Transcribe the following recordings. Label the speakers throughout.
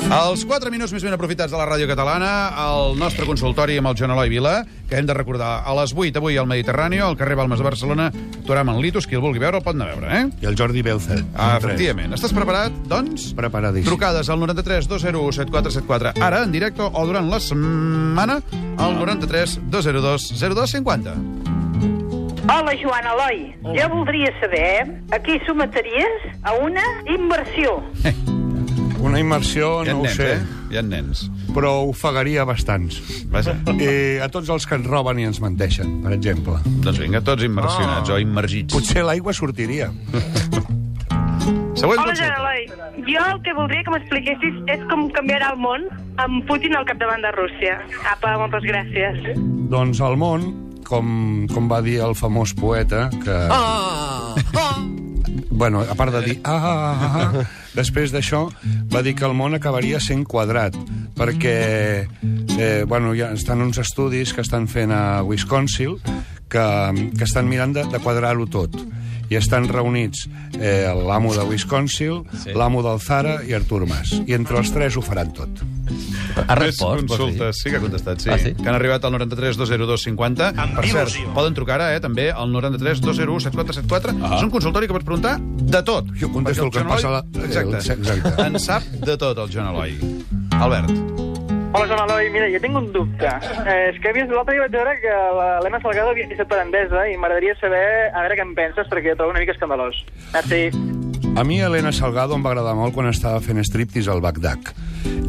Speaker 1: 4 minuts més ben aprofitats de la ràdio catalana, el nostre consultori amb el Joan Eloi Vila, que hem de recordar a les 8 avui al Mediterrani, al carrer Balmes de Barcelona, actuarà amb en Litus, qui el vulgui veure el pot anar a veure, eh?
Speaker 2: I el Jordi Belza.
Speaker 1: Ah, efectivament. Estàs preparat, doncs?
Speaker 2: Preparadíssim.
Speaker 1: Trucades al 93 201 7474, ara, en directe o durant la setmana,
Speaker 2: Ah.
Speaker 1: al 93 202 0250.
Speaker 3: Hola, Joan Eloi. Hola. Jo voldria saber
Speaker 4: eh,
Speaker 3: a qui sometries a una immersió.
Speaker 2: Una immersió,
Speaker 1: Hi ha
Speaker 2: no ho
Speaker 1: nens,
Speaker 2: sé,
Speaker 1: eh? Hi ha nens.
Speaker 2: però ofegaria bastants.
Speaker 1: Vaja.
Speaker 2: Eh, a tots els que ens roben i ens menteixen, per exemple.
Speaker 1: Doncs vinga, tots immersionats
Speaker 2: Ah.
Speaker 1: o immergits.
Speaker 2: Potser l'aigua sortiria.
Speaker 1: Següent
Speaker 4: Hola, Joan
Speaker 1: consulta.
Speaker 4: Eloi. Jo el que voldria que m'expliquessis és com canviarà el món amb Putin al capdavant de Rússia. Apa, moltes gràcies.
Speaker 2: Doncs el món, com, com va dir el famós poeta, que... Ah! Bueno, a part de dir... Ah, ah, ah, ah, després d'això va dir que el món acabaria sent quadrat, perquè eh, bueno, ja estan uns estudis que estan fent a Wisconsin que, que estan mirant de, de quadrar-ho tot. I estan reunits eh, l'amo de Wisconsin, sí. l'amo del Zara i Artur Mas. I entre els tres ho faran tot.
Speaker 5: Ha
Speaker 1: Més
Speaker 5: respost, vols dir?
Speaker 1: consultes, sí que ha contestat, sí.
Speaker 5: Ah, sí?
Speaker 1: Que han arribat al 93 202 50. Per cert, poden trucar ara, eh, també, al 93 201 7474. Ah. És un consultori que pots preguntar de tot.
Speaker 2: Jo
Speaker 1: Perquè
Speaker 2: contesto el que
Speaker 1: Joan
Speaker 2: em passa
Speaker 1: Eloi-
Speaker 2: a la-
Speaker 1: Exacte.
Speaker 2: el- exacte.
Speaker 1: En sap de tot, el Joan Eloi. Albert.
Speaker 6: Hola, Joan Eloi. Mira, jo tinc un dubte. Eh, és que he vist l'altre dia vaig veure que la- l'Emma Salgado havia estat per Endesa i m'agradaria saber a veure què en penses, perquè ho trobo una mica escandalós. Ah, Merci.
Speaker 2: A mi Elena Salgado em va agradar molt quan estava fent striptease al Bagdad.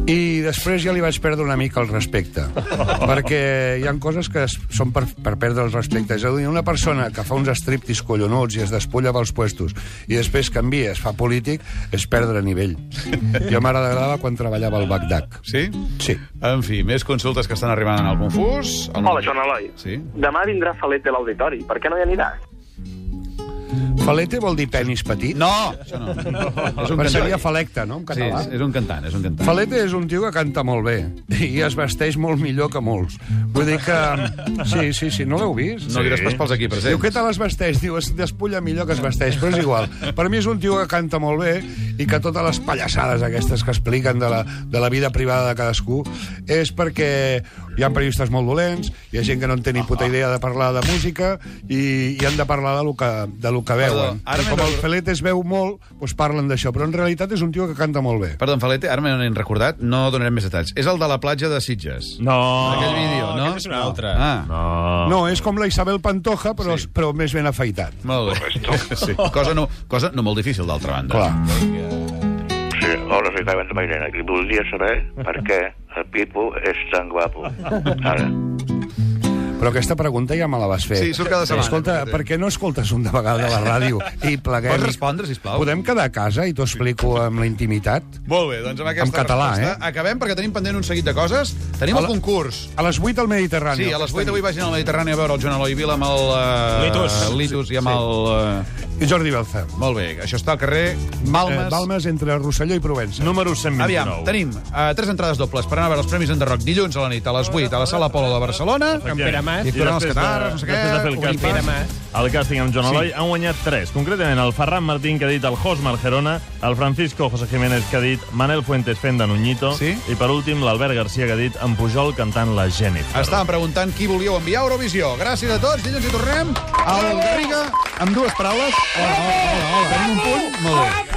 Speaker 2: I després ja li vaig perdre una mica el respecte. perquè hi han coses que es- són per, per perdre el respecte. És a dir, una persona que fa uns striptease collonuts i es despulla pels puestos i després canvia, es fa polític, és perdre nivell. Jo m'agradava quan treballava al Bagdad.
Speaker 1: Sí?
Speaker 2: Sí.
Speaker 1: En fi, més consultes que estan arribant en el confús. El...
Speaker 6: Hola, Joan Eloi.
Speaker 1: Sí.
Speaker 6: Demà vindrà Falet de l'auditori. Per què no hi aniràs?
Speaker 2: Falete vol dir penis petit?
Speaker 1: No, això no. És un
Speaker 2: Però seria
Speaker 1: cantant.
Speaker 2: falecta, no?, en
Speaker 1: Sí,
Speaker 2: català.
Speaker 1: és, és un cantant, és un cantant.
Speaker 2: Falete és un tio que canta molt bé i es vesteix molt millor que molts. Vull dir que... Sí, sí, sí, no l'heu vist?
Speaker 1: No diràs pas pels eh? aquí presents.
Speaker 2: Diu, què tal es vesteix? Diu, es despulla millor que es vesteix, però és igual. Per mi és un tio que canta molt bé i que totes les pallassades aquestes que expliquen de la, de la vida privada de cadascú és perquè hi ha periodistes molt dolents, hi ha gent que no en té ni puta idea de parlar de música i, i han de parlar de lo que, de lo que
Speaker 1: Perdó,
Speaker 2: veuen.
Speaker 1: ara
Speaker 2: I com
Speaker 1: m'he
Speaker 2: el
Speaker 1: recordat-
Speaker 2: Felet es veu molt, doncs parlen d'això, però en realitat és un tio que canta molt bé.
Speaker 1: Perdó, en Falete, ara me n'hem recordat, no donarem més detalls. És el de la platja de Sitges.
Speaker 5: No.
Speaker 1: Aquell vídeo, no?
Speaker 5: Aquest és un altre.
Speaker 1: Ah.
Speaker 5: No.
Speaker 2: No, és com la Isabel Pantoja, però, sí. però més ben afaitat.
Speaker 1: Molt bé. Sí. Cosa, no, cosa no molt difícil, d'altra banda.
Speaker 2: Clar.
Speaker 7: Sí, hola, soy Carmen Mairena. I voldria saber per què el Pipo és tan guapo. Ara.
Speaker 2: Però aquesta pregunta ja me la vas fer.
Speaker 1: Sí, surt cada setmana.
Speaker 2: Escolta, per què no escoltes una vegada la ràdio i pleguem?
Speaker 1: Pots respondre, sisplau?
Speaker 2: Podem quedar a casa i t'ho explico amb la intimitat?
Speaker 1: Molt bé, doncs amb aquesta
Speaker 2: En català, eh?
Speaker 1: resposta acabem perquè tenim pendent un seguit de coses. Tenim
Speaker 2: Hola.
Speaker 1: el concurs.
Speaker 2: A les 8 al Mediterrani.
Speaker 1: Sí, a les 8 avui vagin al Mediterrani a veure el Joan Eloi Vila amb el... Uh,
Speaker 5: Litus.
Speaker 1: Litus i amb el...
Speaker 2: I Jordi Belza.
Speaker 1: Uh, molt bé, això està al carrer Malmes.
Speaker 2: Eh, Balmes entre Rosselló i Provença.
Speaker 5: Número
Speaker 1: Mm, Aviam,
Speaker 5: 129.
Speaker 1: tenim uh, tres entrades dobles per anar a veure els Premis Enderroc dilluns a la nit a les 8 a la Sala Polo de Barcelona.
Speaker 8: Amb Pere Mas.
Speaker 1: I actuaran els
Speaker 5: després de-
Speaker 1: catars, no sé què.
Speaker 5: després de fer el
Speaker 1: obrim
Speaker 5: càsting.
Speaker 1: pas.
Speaker 8: El càsting amb Joan Eloi han guanyat 3. Concretament, el Ferran Martín, que ha dit el Jos Margerona, el Francisco José Jiménez, que ha dit Manel Fuentes fent de Nuñito,
Speaker 1: Sí.
Speaker 8: i per últim l'Albert Garcia que ha dit en Pujol cantant la Jennifer.
Speaker 1: Estàvem preguntant qui volíeu enviar a Eurovisió. Gràcies a tots, dilluns hi tornem al Garriga amb dues paraules. Hola, hola, hola. Tenim un punt? Molt bé.